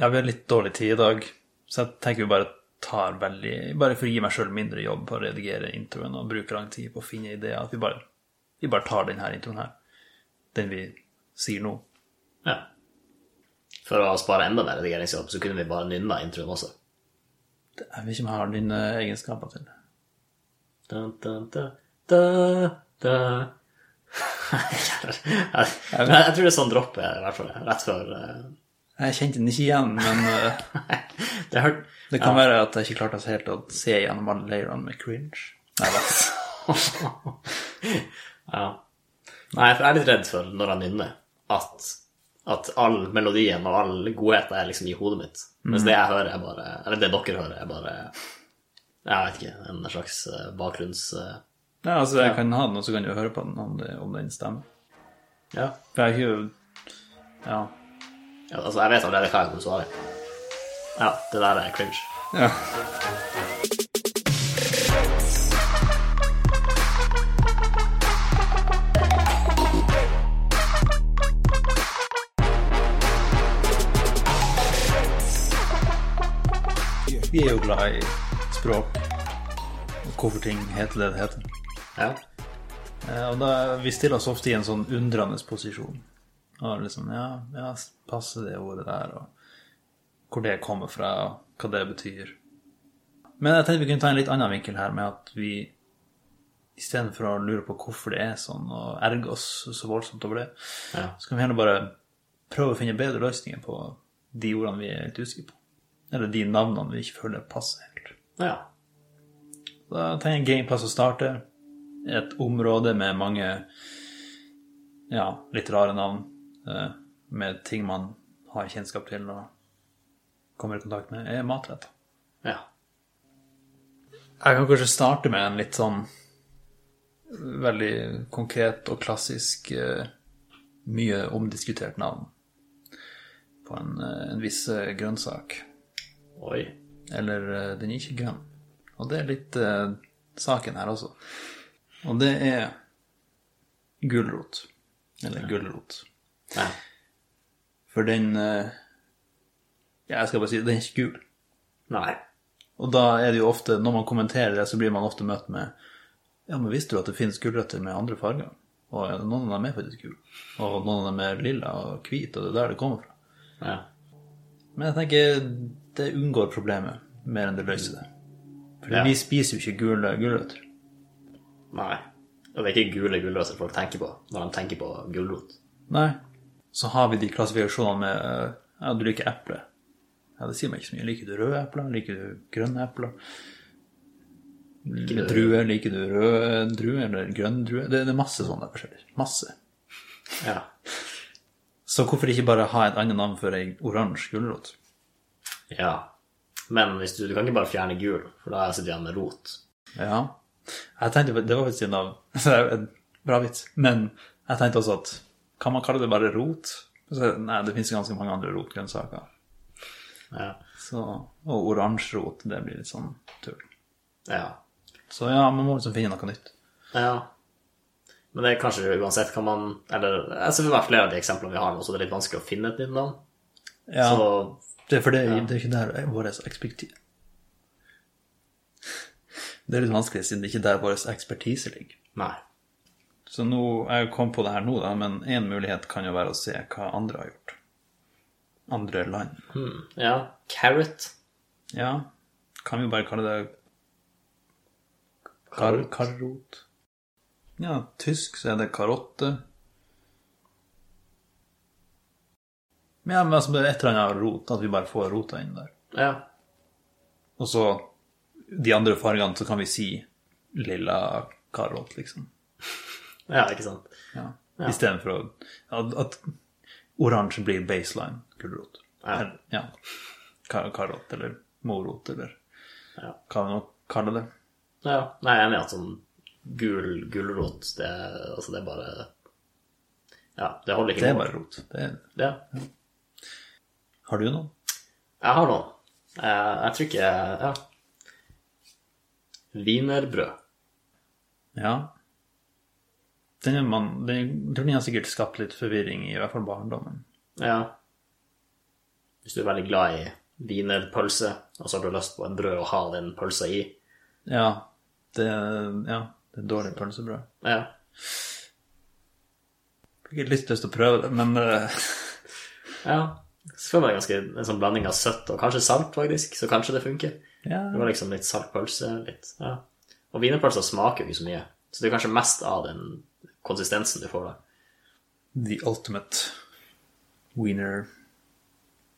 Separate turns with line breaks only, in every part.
Ja, vi har litt dårlig tid i dag, så jeg tenker vi bare tar veldig Bare for å gi meg sjøl mindre jobb på å redigere introen og bruke lang tid på å finne ideer, at vi bare, vi bare tar denne introen her. Den vi sier nå.
Ja. For å spare enda mer redigeringsjobb, så kunne vi bare nynna introen også.
Det- Jeg vet ikke om jeg har dine egenskaper til.
Dun, dun, dun, dun, dun. jeg, jeg tror det er sånn dropp er, i hvert fall. Rett før eh,
Jeg kjente den ikke igjen, men eh,
Det hørte
det kan være at jeg ikke klarte helt å se gjennom alle leirene med cringe. Nei, da.
ja. Nei, for jeg er litt redd for, når jeg nynner, at, at all melodien og all godheten er liksom i hodet mitt. Mens det jeg hører, er bare Eller det dere hører, er bare Jeg vet ikke. En slags eh, bakgrunns... eh,
Nei, altså, jeg kan ha den, og så kan du høre på den om, det, om den stemmer.
Ja.
For jeg har ikke Ja.
Ja, Altså, jeg vet allerede hva jeg kommer til å svare. Ja, det der er cringe.
ja. Vi er jo glad i språk og hvorfor ting heter det det heter.
Ja.
Eh, Og da, vi stiller oss ofte i en sånn undrende posisjon. Og liksom, ja, ja, passer det ordet der, og hvor det kommer fra, og hva det betyr. Men jeg tenkte vi kunne ta en litt annen vinkel her, med at vi istedenfor å lure på hvorfor det er sånn, og erge oss så voldsomt over det,
Ja.
så kan vi gjerne bare prøve å finne bedre løsninger på de ordene vi er litt usikre på. Eller de navnene vi ikke føler passer helt.
ja.
Da tenker jeg en grei plass å starte. Et område med mange ja, litt rare navn. eh, Med ting man har kjennskap til og kommer i kontakt med, er matretter.
Ja.
Jeg kan kanskje starte med en litt sånn veldig konkret og klassisk, eh, mye omdiskutert navn på en, eh, en viss eh, grønnsak.
Oi.
Eller eh, den er ikke grønn. Og det er litt eh, saken her også. Og det er gulrot. Eller gulrot.
Ja.
For den eh, Ja, jeg skal bare si den er ikke gul.
Nei.
Og da er det jo ofte, når man kommenterer det, så blir man ofte møtt med Ja, men visste du at det finnes gulrøtter med andre farger? Og ja, noen av dem er faktisk gule. Og noen av dem er lilla og hvite, og det er der det kommer fra.
Ja.
Men jeg tenker det unngår problemet mer enn det løser det. For
Ja.
vi spiser jo ikke gule gulrøtter.
Nei. Og det er ikke gule gulrøtter folk tenker på når de tenker på gulrot.
Nei. Så har vi de klassifikasjonene med eh, ja, du liker eple. Ja, det sier meg ikke så mye. Liker du røde epler? Liker du grønne epler? Liker du druer? Liker du røde druer eller grønne druer? Det, det er masse sånne forskjeller. Masse.
Ja.
Så hvorfor ikke bare ha et annet navn for ei oransje gulrot?
ja. Men hvis du, du kan ikke bare fjerne gul, for da sitter du igjen med rot.
Ja. Jeg tenkte, Det var faktisk en av så det er jo en Bra vits. Men jeg tenkte også at kan man kalle det bare rot? Så, nei, det fins ganske mange andre rotgrønnsaker.
Ja.
Så, og oransje rot, det blir litt sånn tull.
ja.
Så ja, man må liksom finne noe nytt.
ja. Men det er kanskje uansett kan man Eller jeg ser for meg flere av de eksemplene vi har nå, så det er litt vanskelig å finne et nytt navn.
Ja,
Så
det, for det, det er ikke der vår ekspertise Det er litt vanskelig, siden det ikke er der vår ekspertise ligger.
nei.
Så nå, jeg kom på det her nå, da, men én mulighet kan jo være å se hva andre har gjort. Andre land.
Hmm. Ja. Carrot.
Ja, kan vi bare kalle det kar karrot? Ja, tysk så er det karotte. Men ja, men altså, det er et eller annet rot, at vi bare får rota inn der.
Ja.
Og så de andre fargene, så kan vi si lilla karot, liksom.
ja, ikke sant.
Ja. Istedenfor å at, at oransje blir baseline gulrot.
Ja.
Eller, ja. Kar karot eller morot eller
Ja.
hva vi nå kaller det.
Ja. Nei, jeg er enig i at sånn gul gulrot, det, er- altså det er bare Ja, det holder ikke
Det er
mål.
bare rot. Det er,
Ja.
har du noen?
Jeg har noen. Eh, Jeg tror ikke Ja. Wienerbrød.
Ja. Den er man, den, jeg tror den har sikkert skapt litt forvirring i, i hvert fall barndommen.
Ja. Hvis du er veldig glad i wienerpølse, og så har du lyst på en brød å ha den pølsa i
Ja. Det, ja, det er dårlig pølsebrød.
Ja.
Fikk ikke litt lyst til å prøve det, men eh,
ja. Så føler jeg ganske en sånn blanding av søtt og kanskje salt, faktisk, så kanskje det funker.
ja.
Det var liksom litt saltpølse, litt Ja. Og wienerpølser smaker jo ikke så mye, så det er kanskje mest av den konsistensen du får da.
The ultimate wiener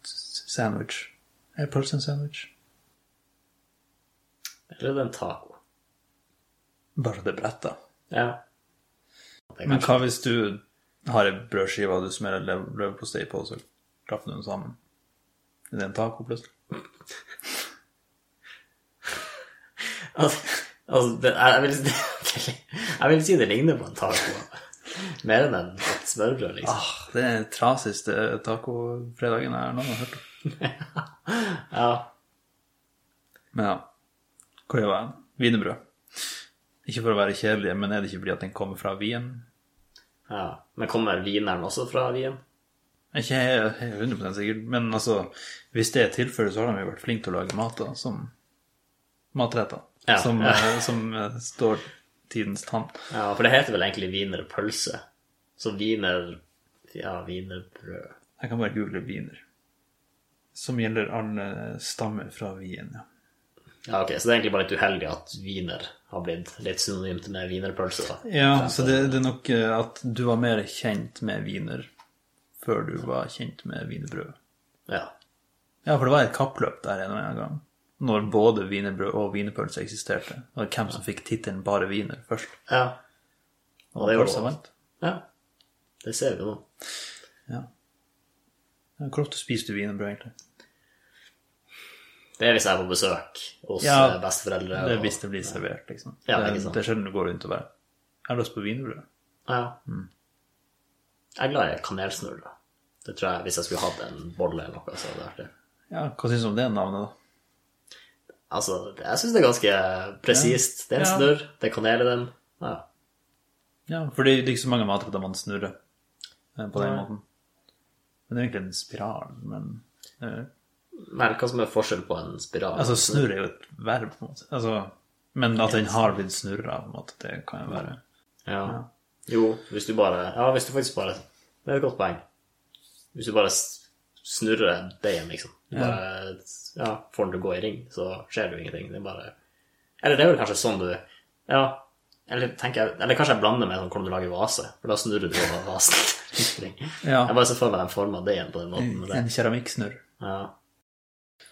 s- sandwich. Eh, Pølse sandwich.
Eller det er en taco.
Bare det bretta.
Ja. Det er
Men
kanskje
hva hvis du har ei brødskive og du smører lev- leverpostei på, og så klapper du den sammen? Er det en taco, plutselig?
Altså, altså det, jeg, vil, si- jeg vil si det ligner på en taco. Mer enn en et smørbrød, liksom.
Ah, det er den trasigste tacofredagen jeg noen gang har hørt om.
Ja.
Men ja, hvor var den? Wienerbrød. Ikke for å være kjedelig, men er det ikke fordi at den kommer fra Wien?
ja. Men kommer wieneren også fra Wien?
Jeg er ikke helt- helt 100 sikker, men altså, hvis det er tilfellet, så har de jo vært flinke til å lage mat da, som matretter.
Ja,
som,
ja.
eh, som eh, står tidens tann.
Ja, for det heter vel egentlig wienerpølse. Så wiener Ja, wienerbrød.
Jeg kan bare google wiener. Som gjelder alle stammer fra Wien, ja.
Ja, ok, Så det er egentlig bare litt uheldig at wiener har blitt litt synonymt med wienerpølse, da.
Ja, så det, det er nok eh, at du var mer kjent med wiener før du var kjent med wienerbrød.
Ja.
Ja, for det var et kappløp der en eller annen gang. Når både wienerbrød og wienerpølse eksisterte. Og hvem som fikk tittelen bare wiener først.
ja. Og det er jo-
Pølsa vant.
ja. Det ser vi nå.
Ja, Hvor ofte spiser du wienerbrød, egentlig?
Det er hvis jeg er på besøk hos
Ja,
eh, besteforeldre.
Det er
og-
hvis det blir servert, liksom.
Ja,
det,
ikke
er,
sant.
det er sjelden du går rundt og bare Jeg har lyst på wienerbrød.
Ja. Jeg er glad i kanelsnurrer. Det tror jeg hvis jeg skulle hatt en bolle eller noe, så hadde det vært det.
Ja, hva syns du om det navnet, da?
Altså, det- jeg syns det er ganske presist. Det er en
Ja.
snurr, det er kanel i den. Ja.
Ja, for det er ikke så mange matretter man snurrer eh, på den
Nei.
måten. Men det er egentlig en spiral, men eh,
Men hva som er forskjellen på en spiral?
Altså, snurr er jo et verb, på en måte. Altså, men at den har blitt snurra, på en måte, det kan jo være
ja. Jo, hvis du bare Ja, hvis du faktisk bare Det er et godt poeng. Hvis du bare s- snurrer deigen, liksom. Du bare ja, får den til å gå i ring, så skjer det jo ingenting. Det er bare Eller det er vel kanskje sånn du Ja. Eller, tenker jeg, eller kanskje jeg blander med sånn hvordan du lager vase, for da snurrer du over vasen. i ring.
Ja.
Jeg bare ser for meg den forma deigen på den måten. men det-
en keramikksnurr.
Mm, Ja.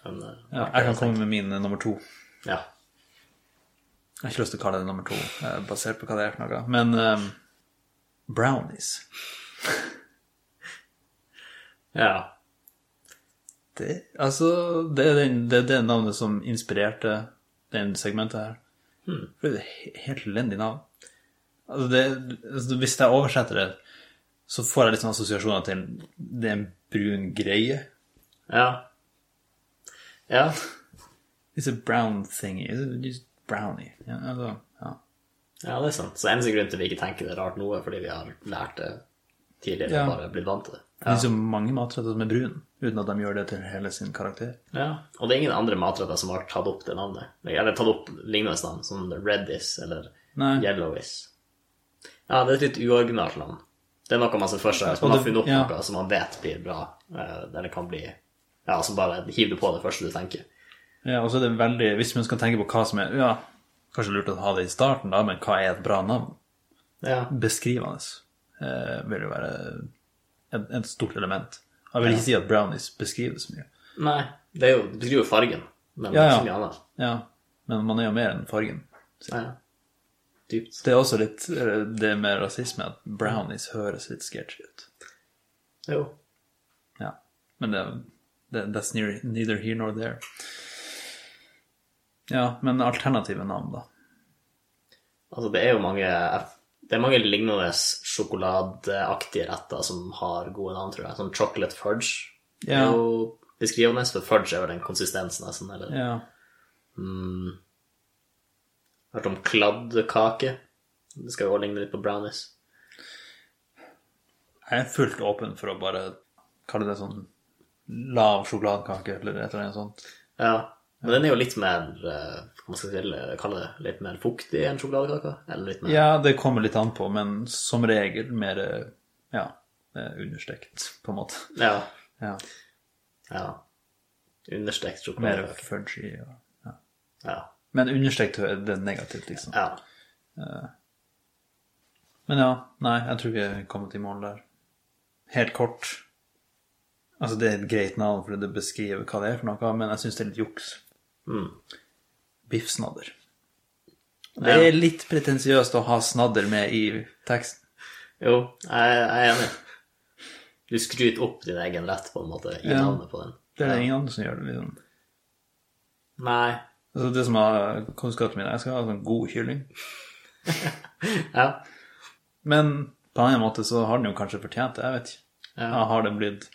Men, eh,
Ja, jeg kan komme med min eh, nummer to.
ja.
Jeg har ikke lyst til å kalle det nummer to, eh, basert på hva det er for noe. Men eh, brownies,
ja.
det, altså, det er den, det, er det navnet som inspirerte den segmentet her. For det er et he- helt elendig navn. Altså, det, altså, hvis jeg oversetter det, så får jeg litt sånne assosiasjoner til det er en brun greie.
Ja. Ja.
It's a brown thingy. It's just brownie. Ja, altså, ja.
Ja, det er sant. Så eneste grunn til vi ikke tenker det er rart nå, er fordi vi har lært det tidligere
Ja.
og bare blitt vant til det.
Det er så mange matretter som er brune, uten at de gjør det til hele sin karakter.
Ja. Og det er ingen andre matretter som har tatt opp det navnet. Eller tatt opp lignende navn, som Redis eller
Nei.
Yellowish. Ja, det er et litt uoriginalt navn. Det er noe man ser for seg, som
Og
man har
det-
funnet opp
ja.
noe som man vet blir bra, eh, eller kan bli Ja, som bare hiver du på det første du tenker.
Ja, og så er det veldig, Hvis man skal tenke på hva som er ja, Kanskje lurt å ha det i starten, da, men hva er et bra navn?
Ja.
Beskrivende eh, vil jo være et, et stort element. Jeg vil ikke si at brownies beskriver så mye.
Nei, det er jo Det beskriver jo fargen, men
Ja,
ikke
ja.
så mye annet.
Ja, Men man er jo mer enn fargen.
Ja. Dypt.
Det er også litt eh, det med rasisme at brownies høres litt sketchy ut.
Jo.
Ja. Men det, det that's near, neither here nor there. Ja, men alternative navn, da.
Altså, det er jo mange det er mange lignende sjokoladeaktige retter som har gode navn, tror jeg. Sånn chocolate fudge.
Ja.
er jo beskrivende, for fudge er vel den konsistensen, nesten. Eller
Ja.
hørt om kladdkake. Det skal jo også ligne litt på brownies.
Jeg er fullt åpen for å bare kalle det sånn lav sjokoladekake eller et eller annet sånt.
Ja. Men den er jo litt mer eh, hva skal jeg kalle det, litt mer fuktig enn sjokoladekaka? Eller litt mer
Ja, det kommer litt an på, men som regel mer eh, ja, eh, understekt, på en måte.
Ja.
Ja,
ja. Understekt
mer
sjokoladekake.
fudgy. Og, ja.
Ja.
Men understekt er det negativt, liksom.
ja.
Men ja, nei, jeg tror ikke jeg er kommet i mål der. Helt kort. Altså, det er et greit navn, for det beskriver hva det er for noe, men jeg syns det er litt juks. Biffsnadder. Det er litt pretensiøst å ha snadder med i teksten.
Jo, jeg, jeg er enig. Du skryter opp din egen rett, på en måte, i
Ja.
navnet på den.
Det er det ingen andre som gjør det, liksom.
Nei.
Altså, det som har kunnskapen min, jeg skal ha sånn god kylling.
Ja.
Men på en annen måte så har den jo kanskje fortjent det, jeg vet ikke.
Ja.
Ja, har den blitt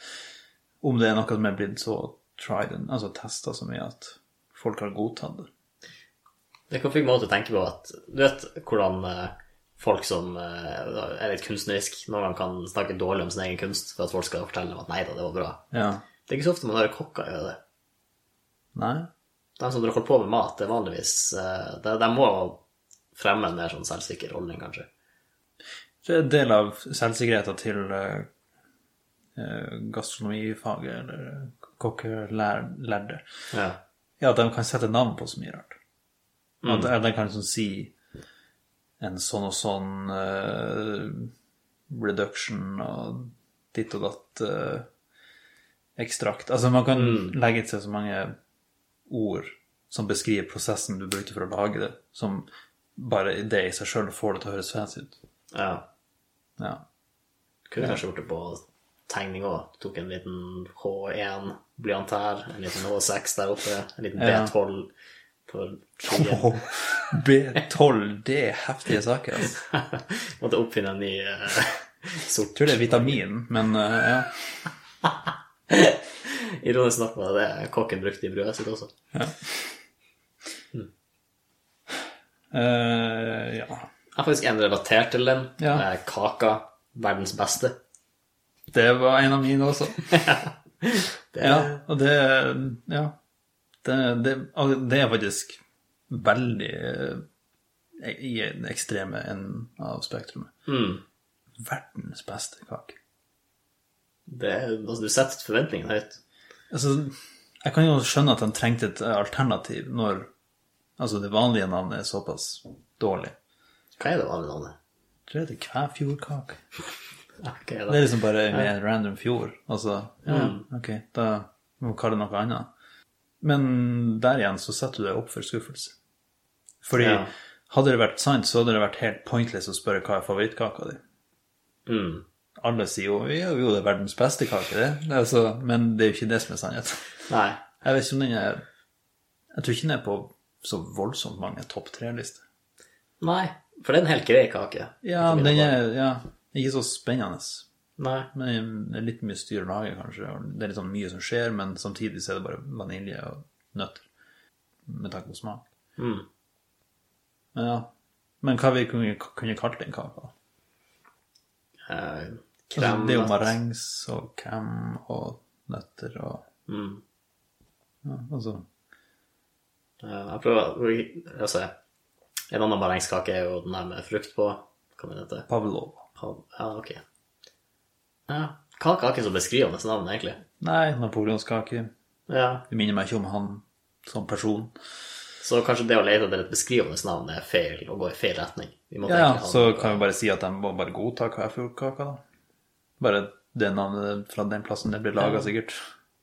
Om det er noe som er blitt så tried and altså testa så mye at folk har godtatt det.
Det kan fikk meg også til å tenke på at Du vet hvordan eh, folk som eh, er litt kunstnerisk, noen ganger kan snakke dårlig om sin egen kunst for at folk skal fortelle dem at 'nei da, det var bra'.
Ja.
Det er ikke så ofte man hører kokker gjøre det.
Nei?
De som holder på med mat, det er vanligvis eh, De, de må fremme en mer sånn selvsikker holdning, kanskje.
Det er en del av selvsikkerheten til eh, eh, gastronomifaget eller kokkelærde.
Ja.
Ja, at de kan sette navn på så mye rart. At at de kan liksom si en sånn og sånn eh, reduction og ditt og datt eh, ekstrakt. Altså man kan legge til så mange ord som beskriver prosessen du brukte for å lage det, som bare det i seg sjøl får det til å høres fancy ut.
ja.
Ja.
Kunne kanskje gjort det på tegning òg. Tok en liten H1-blyant her, en liten H6 der oppe, en liten
Ja.
B12 på skien.
B12, det er heftige saker, altså.
Måtte oppfinne en ny eh, sort.
Jeg tror det er vitamin, men eh, ja.
Ironisk nok var det det kokken brukte i brødet sitt også.
Eh, ja.
Jeg har faktisk en relatert til den.
Ja.
Eh, Kaka. Verdens beste.
Det var en av mine også.
Det er
Ja, og det Ja. Det, det, altså, det er faktisk veldig eh, i den ekstreme enden av spektrumet.
mm,
Verdens beste kake.
Det, er- altså, du setter forventningene høyt.
Altså, jeg kan jo skjønne at han trengte et alternativ når altså det vanlige navnet er såpass dårlig.
Hva er det vanlige navnet?
Jeg tror det er Kvæfjordkake.
Ok, da.
Det er liksom bare med en random fjord. Altså, ja, ok, da må vi kalle det noe annet. Men der igjen så setter du deg opp for skuffelse. Fordi
Ja.
hadde det vært sant, så hadde det vært helt pointless å spørre hva er favorittkaka di.
Mm.
Alle sier jo ja, jo, det er verdens beste kake, det. det er altså, men det er jo ikke det som er sannheten.
Nei.
Jeg vet ikke om den er Jeg tror ikke den er på så voldsomt mange topp tre-lister.
Nei, for det er en helt grei kake.
Ja,
Ikke
men
mine
den
barn.
er ja, ikke så spennende.
Nei.
Men det er litt mye styr å lage, kanskje. og Det er litt sånn mye som skjer, men samtidig så er det bare vanilje og nøtter med tanke på smak.
Mm.
Men ja. Men hva vi kunne, kunne kalt den kaka?
Eh,
Altså,
krem.
det er jo
nøtt.
marengs og krem og nøtter og
Mm.
ja, altså,
Eh, jeg prøver Altså, en annen barengskake er jo den her med frukt på. Hva mener dette?
Pavlov.
Ja, ok. Ja. Kake har ikke så beskrivende navn, egentlig.
Nei, napoleonskake.
Ja.
Det minner meg ikke om han som person.
Så kanskje det å lete etter et beskrivende navn er feil, og gå i feil retning. Vi må
Ja, ja,
tenke han-
så kan vi bare si at de må bare godta kvæfjordkaka, da. Bare det navnet fra den plassen det blir laga, sikkert.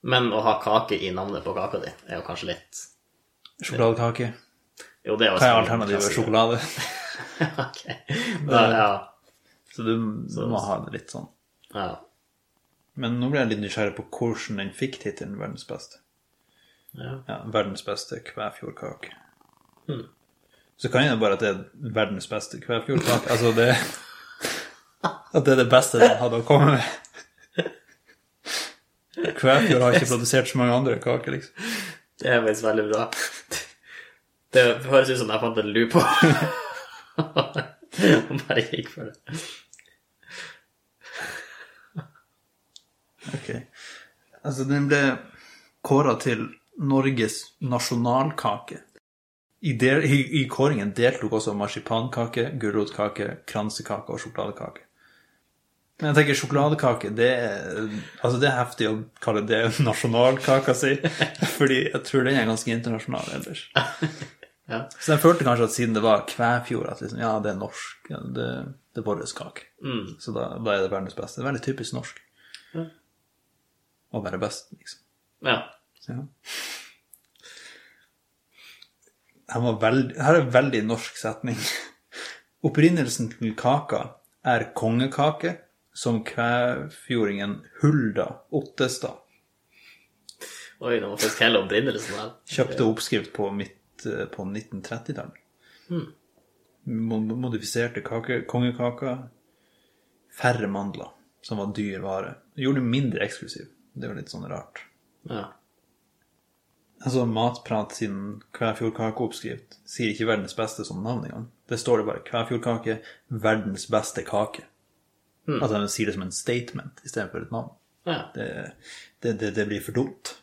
Men å ha kake i navnet på kaka di er jo kanskje litt
Sjokoladekake.
Jo, det er jo
Hva er alternativet? Sjokolade?
ok. Da, ja.
Så du må ha det litt sånn.
ja.
Men nå ble jeg litt nysgjerrig på hvordan den fikk tittelen 'Verdens beste'.
Ja.
verdens beste kvæfjordkake. Så kan jeg bare at det er verdens beste kvæfjordkake. altså det At det er det beste den hadde å komme med. Kvæfjord har ikke produsert så mange andre kaker, liksom.
Det er faktisk veldig bra. Det høres ut som jeg fant en lue på. Og bare gikk for det.
Ok. Altså, den ble kåra til Norges nasjonalkake. I, del, i, I kåringen deltok også marsipankake, gulrotkake, kransekake og sjokoladekake. Men jeg tenker sjokoladekake, det er, altså det er heftig å kalle det nasjonalkaka si. Fordi jeg tror den er ganske internasjonal ellers.
Ja.
Så jeg følte kanskje at siden det var Kvæfjord, at liksom, ja, det er norsk. ja, Det, det er vår kake. Så da, da er det verdens beste. Det er veldig typisk norsk
Ja.
å være best, liksom.
ja.
Så, ja. Her, var veld, her er en veldig norsk setning. Opprinnelsen til kaka er kongekake, som kvæfjordingen Hulda Ottestad
Oi, det var faktisk hele opprinnelsen her.
kjøpte oppskrift på midt eh, på 1930-tallet. Mo- Modifiserte kake, kongekaker. Færre mandler, som var dyr vare. Gjorde det mindre eksklusiv. Det er jo litt sånn rart.
Ja.
Altså, Matprat sin Kvæfjordkakeoppskrift sier ikke 'verdens beste' som navn engang. Det står det bare 'Kvæfjordkake verdens beste kake'. Altså, de sier det som en statement istedenfor et navn.
ja.
Det, det, det, det blir for dumt.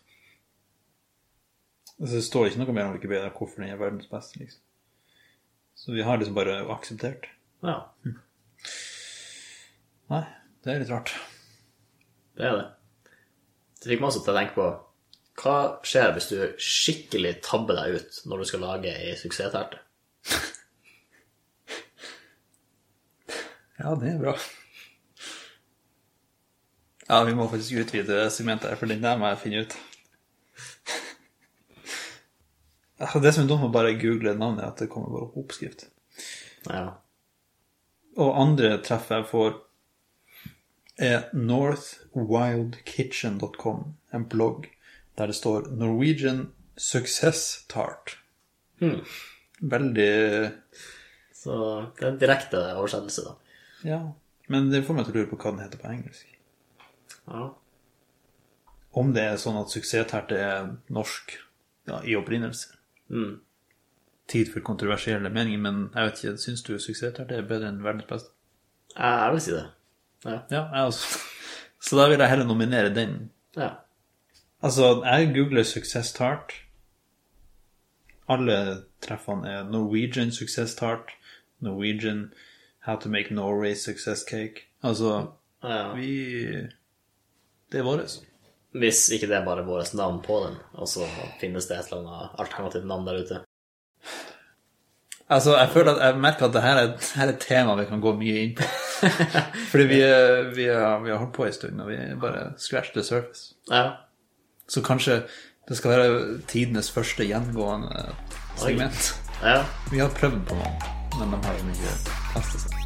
Altså, det står ikke noe mer om Wikipedia hvorfor den er verdens beste, liksom. Så vi har liksom bare akseptert.
ja.
Nei, det er litt rart.
Det er det. Det fikk meg også til å tenke på hva skjer hvis du skikkelig tabber deg ut når du skal lage ei suksessterte?
Ja, det er bra. Ja, vi må faktisk utvide segmentet her, for den der må jeg finne ut. Altså, Det som er dumt med å bare google navnet, er at det kommer bare opp oppskrift.
Ja.
Og andre treff jeg får, er northwildkitchen.com, en blogg der det står 'Norwegian success tart'. Veldig
Så det er en direkte oversettelse, da.
Ja. Men det får meg til å lure på hva den heter på engelsk.
Ja.
Om det er sånn at suksessterte er norsk ja, i opprinnelse.
Mm.
Tid for kontroversielle meninger, men jeg vet ikke, syns du suksessterte er bedre enn verdens beste?
Jeg, jeg vil si det. Ja.
Ja, jeg også. Så da vil jeg heller nominere den
ja.
Altså, jeg googler 'success tart'. Alle treffene er Norwegian success tart, Norwegian how to make Norway success cake. Altså,
ja.
vi Det er vårt.
Hvis ikke det er bare vårt navn på den, og så finnes det et eller annet alternativt navn der ute.
Altså, jeg føler at jeg merker at det her er, det her er et tema vi kan gå mye inn på. Fordi vi, er- vi, har, vi har holdt på en stund, og vi bare scratch the surface.
Ja.
Så kanskje det skal være tidenes første gjengående segment.
ja.
Vi har prøvd på noen, men de har ikke testet seg.